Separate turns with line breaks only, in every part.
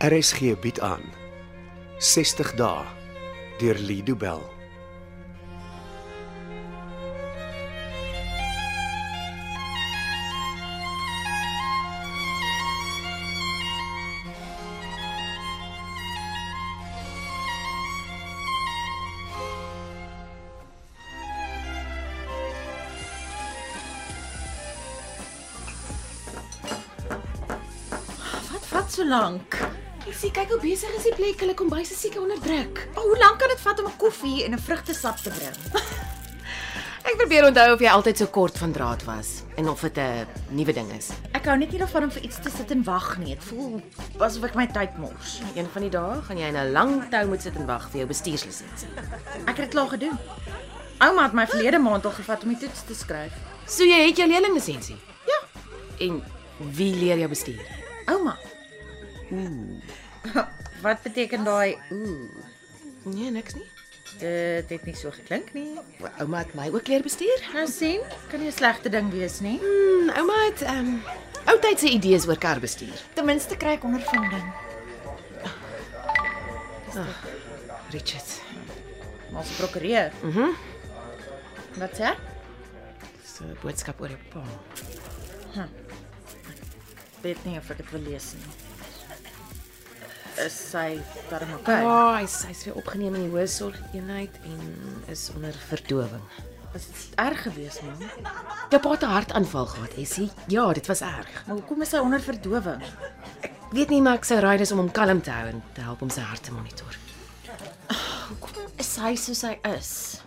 RSG bied aan 60 dae deur Lido Bell.
Wat vat so lank?
Ek sien kyk hoe besig is die plek. Hulle kombuis is seker onder druk.
Maar Oh, hoe lank kan dit vat om 'n koffie en 'n vrugtesap te bring?
Ek probeer onthou of jy altyd so kort van draad was en of dit 'n nuwe ding is.
Ek hou net nie daarvan om vir iets te sit en wag nie. Dit voel asof ek my tyd mors.
Een van die dae gaan jy in 'n lang tou moet sit en wag vir jou bestuurslisensie.
Ek het dit klaar gedoen. Ouma het my verlede maand al gevat om die toets te skryf.
So jy het jou leerlinglisensie.
Ja,
En wie leer jou bestuur?
ouma. Ooh. Wat beteken daai ooh?
Nee, niks nie.
Dit het nie so geklink nie.
Ouma het my ook leer bestuur.
Nou sien, kan nie 'n slegte ding wees nie.
Hmm, ouma het ehm um, ou tyd se idees oor karbestuur.
Ten minste kry ek ondervinding.
Richard.
Maar se prokureur. Mhm. Wat sê?
So 'n boodskap oor 'n pa.
weet nie of ek dit wil lees nie. Is sy darm okay? Oh.
Ja, hy's hy's weer opgeneem in die hoë sorgeenheid en is onder verdowing.
Is dit erg geweest, man?
Jou pa het 'n hartaanval gehad, Essie. Ja, dit was erg.
Maar hoekom is sy onder verdowing?
Weet nie maar ek sou raai dis om hom kalm te hou en te help om sy hart te monitor.
Hoekom is sy soos sy is?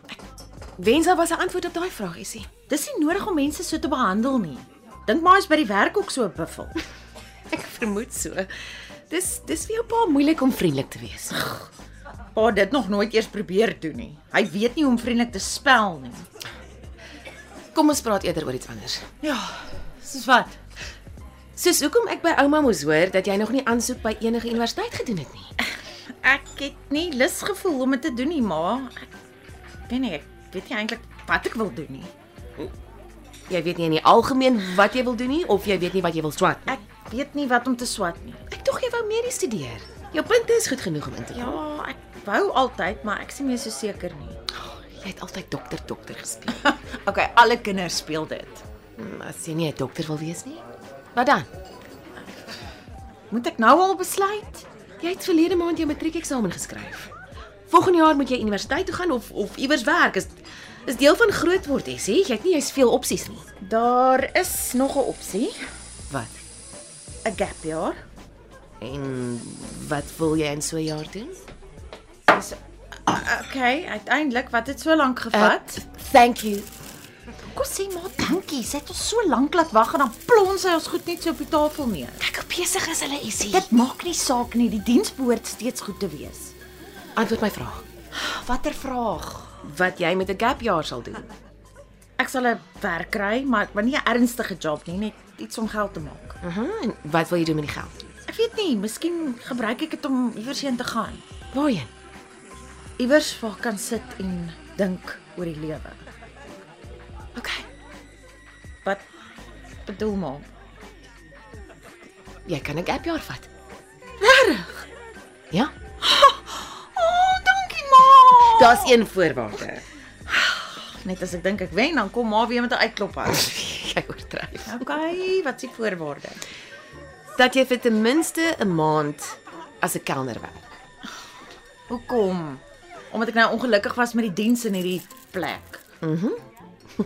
Wensa was 'n antwoord op daai vraag, Essie.
Dis nie nodig om mense so te behandel nie. Dink maar hy's by die werk ook so 'n buffel.
Ek vermoed so. Dis dis vir jou pa moeilik om vriendelik te wees.
Pa het dit nog nooit eers probeer doen nie. Hy weet nie hoe om vriendelik te spel nie.
Kom ons praat eerder oor iets anders.
Ja, soos wat?
Soos hoekom ek by ouma moes hoor dat jy nog nie aansoek by enige universiteit gedoen het nie.
Ek het nie lus gevoel om dit te doen nie, ma. Ek weet nie, ek weet nie eintlik wat ek wil doen nie.
Jy weet nie in die algemeen wat jy wil doen nie of jy weet nie wat jy wil swat nie.
Ek weet nie wat om te swat nie.
Ek tog jy wou medies studeer. Jou punte is goed genoeg om in te gaan.
Ja, ek wou altyd, maar ek is nie meer so seker nie.
Jy het altyd dokter dokter gespeel.
Okay, alle kinders speel dit.
Hmm, As jy nie 'n dokter wil wees nie, wat dan?
Moet ek nou al besluit?
Jy het verlede maand jou matriekeksamen geskryf. Volgende jaar moet jy universiteit toe gaan of of iewers werk. Is is deel van grootword, Essie. Jy het nie jy's veel opsies nie.
Daar is nog 'n opsie,
Wat?
'n gap ja. jaar.
En wat wil jy in so 'n jaar doen?
Dis Okay, uiteindelik wat het so lank gevat? Uh,
Eh, Thank you.
Eh, kom sê maar dankie, sy het ons so lank laat wag en dan plons sy ons goed net so op die tafel neer.
Kyk hoe besig is hulle, Essie.
Dit maak nie saak nie, die diens behoort steeds goed te wees.
Antwoord my vraag.
Watter vraag?
Wat jy met 'n gap jaar sal doen?
Ek sal 'n werk kry, maar maar nie 'n ernstige job nie, net iets om geld te maak.
Mhm. Uh-huh. En wat wil jy doen met die geld?
Ek weet nie, miskien gebruik ek dit om iewers heen te gaan.
Waarheen?
iewers waar kan sit en dink oor die lewe.
OK.
Wat bedoel ma?
Jy kan 'n gap jaar vat.
Regtig?
Ja.
O, oh, dankie ma.
Daar's een voorwaarde.
Net as ek dink ek wen, dan kom ma weer met 'n uitklop uit.
jy oortryf.
Okay, wat is die voorwaarde?
Dat jy vir ten minste 'n maand as 'n kelner werk.
Hoekom? Omdat ek nou ongelukkig was met die diens in hierdie plek. Mhm.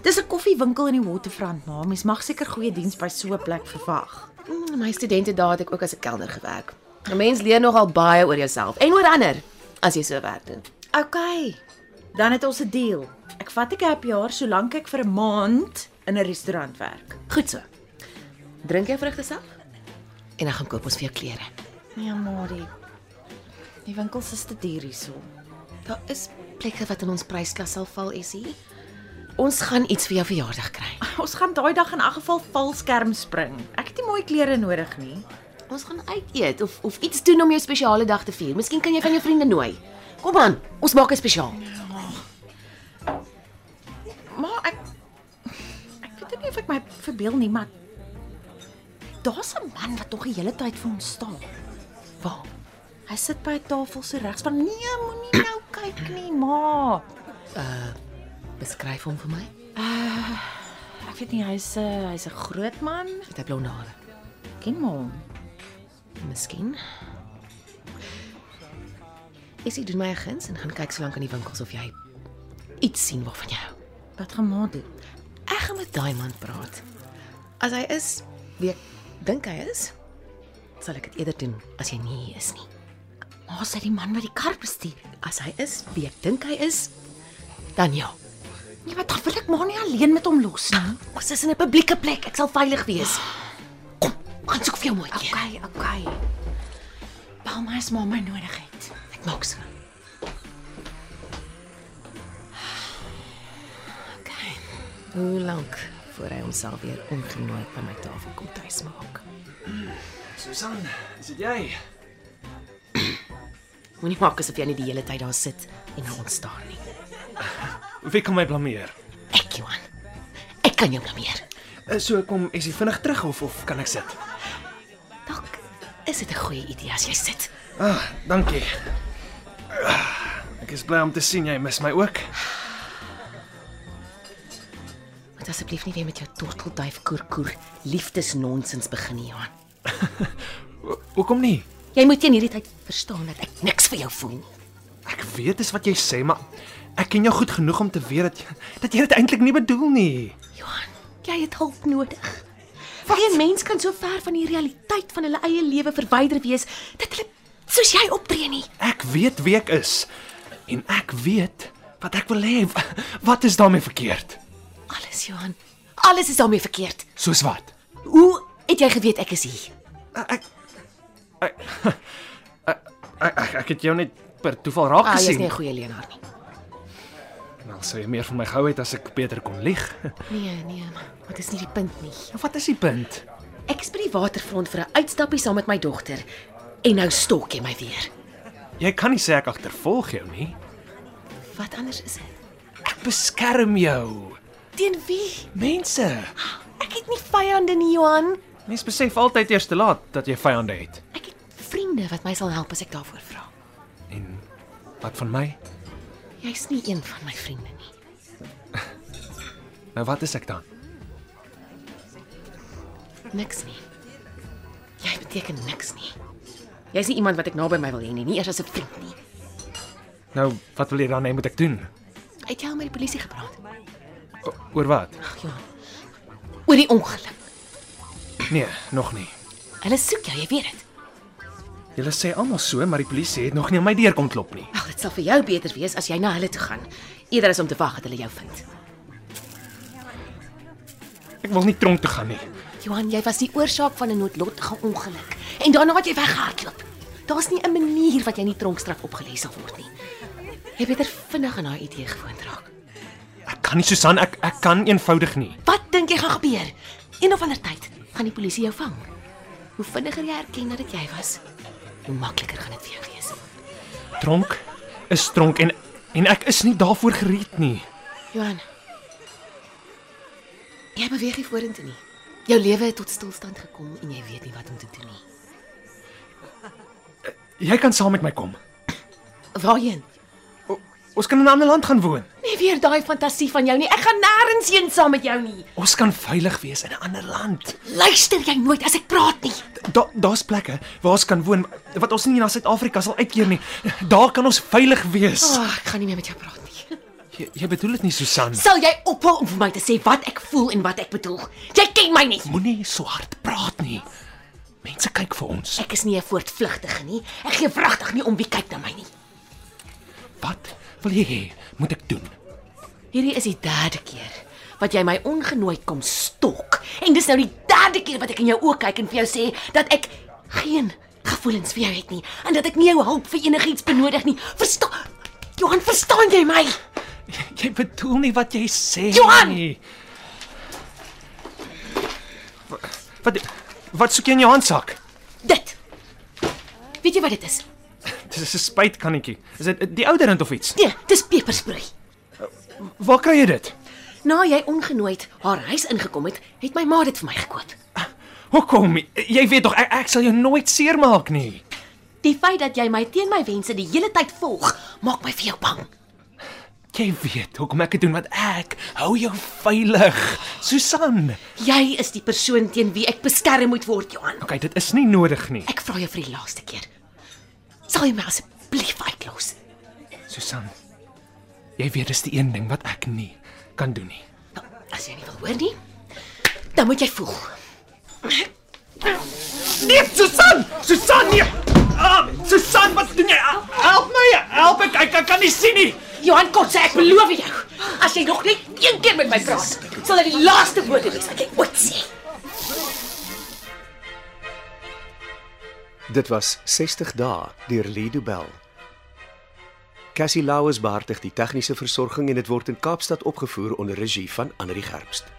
Dis 'n koffiewinkel in die Waterfront, ma. Mens mag seker goeie diens by so 'n plek verwag.
Mm, My studente dae het ek ook as 'n kelner gewerk. 'n Mens leer nogal baie oor jouself en oor ander as jy so werk doen.
Okay. Dan het ons 'n deal. Ek vat 'n gap jaar solank ek vir 'n maand in 'n restaurant werk.
Goed so. Drink jou vrugtesap en dan gaan koop ons vir jou klere.
Nee, Marie. Die winkels is te duur hierso.
Daar is plekke wat in ons prysklas sal val, Essie. Ons gaan iets vir jou verjaardag kry.
Ons gaan daai dag in elk geval valskerm spring. Ek het nie mooi klere nodig nie.
Ons gaan uit eet of of iets doen om jou spesiale dag te vier. Miskien kan jy van jou vriende nooi. Kom aan, ons maak dit spesiaal.
Maar ek ek weet ook nie of ek my verbeel nie, maar daar's 'n man wat tog die hele tyd vir ons staan.
Waar?
Hy sit by 'n tafel so regs van nee, moenie nou kyk nie, ma.
Beskryf hom vir my.
Ek weet nie, hy's 'n hy's 'n groot man.
Het hy blonde hare?
Ken maar hom.
Miskien. Is dit doen my 'n guns en gaan kyk so lank in die winkels of jy iets sien waarvan jy hou.
Wat gaan ma doen?
Ek gaan met daai man praat. As hy is wie ek dink hy is, sal ek dit eerder doen as hy nie hier is nie.
Ma sê die man wat die kar bestuur.
As hy is wie ek dink hy is, dan ja.
Nee, maar dan wil ek ma nie alleen met hom los nie.
Ons is in 'n publieke plek. Ek sal veilig wees. Kom, gaan soek vir jou maatjie.
Okay, okay. Bel my as ma my nodig het.
Ek maak so. Okay. Hoe lank voor hy homself weer ongenooi by my tafel kom tuis maak?
Susan, is dit jy?
Moenie maak asof jy nie die hele tyd daar sit en na ons staar nie.
Wie kan my blameer?
Ek Johan. Ek kan jou blameer.
Eh, So kom, is jy vinnig terug of of kan ek sit?
Dalk is dit 'n goeie idee as jy sit.
Ah, dankie. Ek is bly om te sien jy mis my ook.
Moet asseblief nie weer met jou tortelduif koerkoer liefdesnonsens begin nie, Johan.
Ho- Hoekom nie?
Jy moet teen hierdie tyd verstaan dat ek niks vir jou voel nie.
Ek weet dis wat jy sê, maar ek ken jou goed genoeg om te weet dat jy, dat jy dit eintlik nie bedoel nie.
Johan, jy het hulp nodig. Geen mens kan so ver van die realiteit van hulle eie lewe verwyder wees dat hulle soos jy optree nie.
Ek weet wie ek is en ek weet wat ek wil hê. Wat is daarmee verkeerd?
Alles Johan, alles is daarmee verkeerd.
Soos wat?
Hoe het jy geweet ek is hier?
Ek ek ek, ek, ek het jou net per toeval raak
Ah, jy's
gesien.
nie 'n goeie leenaar nie.
Wel sou jy meer van my gehou het as ek beter kon lieg.
Nee, nee, maar dit is nie die punt nie.
Nou, Wat is die punt?
Ek is by die waterfront vir 'n uitstappie saam met my dogter en nou stalk jy my weer.
Jy kan nie sê ek agtervolg jou nie.
Wat anders is dit?
Ek beskerm jou.
Teen wie?
Mense,
Ek het nie vyande nie, Johan.
mense besef altyd eers te laat dat jy vyande het.
Ek het vriende wat my sal help as ek daarvoor vra.
En wat van my?
Jy's nie een van my vriende nie.
Nou wat is ek dan?
Niks nie. Jy beteken niks nie. Jy's nie iemand wat ek naby my wil hê nie, nie eers as 'n vriend nie.
Nou, wat wil jy dan hê moet ek doen?
Het jy al met die polisie gepraat?
O, oor wat?
Ag ja. Oor die ongeluk.
Nee, nog nie.
Hulle soek jou, jy weet dit.
Julle sê almal so, maar die polisie het nog nie aan my deur kom klop nie.
Ag, dit sal vir jou beter wees as jy na hulle toe gaan, eerder as om te wag dat hulle jou vind.
Ek wil nie tronk toe gaan nie.
Johan, jy was die oorsaak van 'n noodlottige ongeluk en daarna het jy weggehardloop. Daar's nie 'n manier wat jy nie tronkstraf opgelê sal word nie. Jy beter vinnig aan daai idee gewoond raak.
Ek kan nie Susan, ek ek kan eenvoudig nie.
Wat dink jy gaan gebeur? Een of ander tyd gaan die polisie jou vang. Hoe vinniger jy erken dat dit jy was, hoe makliker gaan dit vir jou wees.
Tronk is tronk en en ek is nie daarvoor gereed nie.
Johan. Jy beweeg nie vorentoe nie. Jou lewe het tot stilstand gekom en jy weet nie wat om te doen nie.
Jy kan saam met my kom.
Waarheen?
O, ons kan in 'n ander land gaan woon.
Nie weer daai fantasie van jou nie. Ek gaan nêrens heen saam met jou nie.
Ons kan veilig wees in 'n ander land.
Luister jy nooit as ek praat nie.
Da daar's plekke waar ons kan woon wat ons nie na Suid-Afrika sal uitkeer nie. Daar kan ons veilig wees.
Oh, ek gaan nie meer met jou praat nie.
Jy, jy bedoel dit nie Susan.
Sal jy ophou om vir my te sê wat ek voel en wat ek bedoel? Jy ken my nie.
Moenie so hard praat nie. Mense kyk vir ons.
Ek is nie 'n voortvlugtige nie. Ek gee wragtig nie om wie kyk na my nie.
Wat wil jy hê moet ek doen?
Hierdie is die derde keer wat jy my ongenooi kom stok. En dis nou die derde keer wat ek in jou oë kyk en vir jou sê dat ek geen gevoelens vir jou het nie en dat ek nie jou hulp vir enigiets benodig nie. Verstaan? Johan, verstaan jy my?
Jy, jy bedoel nie wat jy sê
Johan!
nie. Wa- Wat wat soek jy in jou handsak?
Dit. Weet jy wat dit is?
Dis 'n spuitkannetjie. Is dit die ouderend of iets?
Nee, dis pepersproei.
Waar kry jy dit?
Na jy ongenooid haar huis ingekom het, het my ma dit vir my gekoop.
Hoekom? Jy weet tog ek, ek sal jou nooit seermaak nie.
Die feit dat jy my teen my wense die hele tyd volg, maak my vir jou bang.
Jy weet hoekom ek dit doen want ek hou jou veilig. Susan.
Jy is die persoon teen wie ek beskerm moet word, Johan.
Okay, dit is nie nodig nie.
Ek vra jou vir die laaste keer. Sal jy my asseblief uitlos?
Susan. Jy weet dis die een ding wat ek nie kan doen nie.
Nou, as jy nie wil hoor nie, dan moet jy voel.
Nee, Susan! Susan, nee. Ah, Susan, wat doen jy? Ah, Help my, help ek, ek, ek kan nie sien nie.
Johan Kotse, ek beloof jou, as jy nog net een keer met my praat, sal dit die laaste woord wees wat jy ooit sê.
Dit was 60 dae deur Lido Bell. Cassie Lauers beheer die tegniese versorging en dit word in Kaapstad opgevoer onder regie van Anri Gerbst.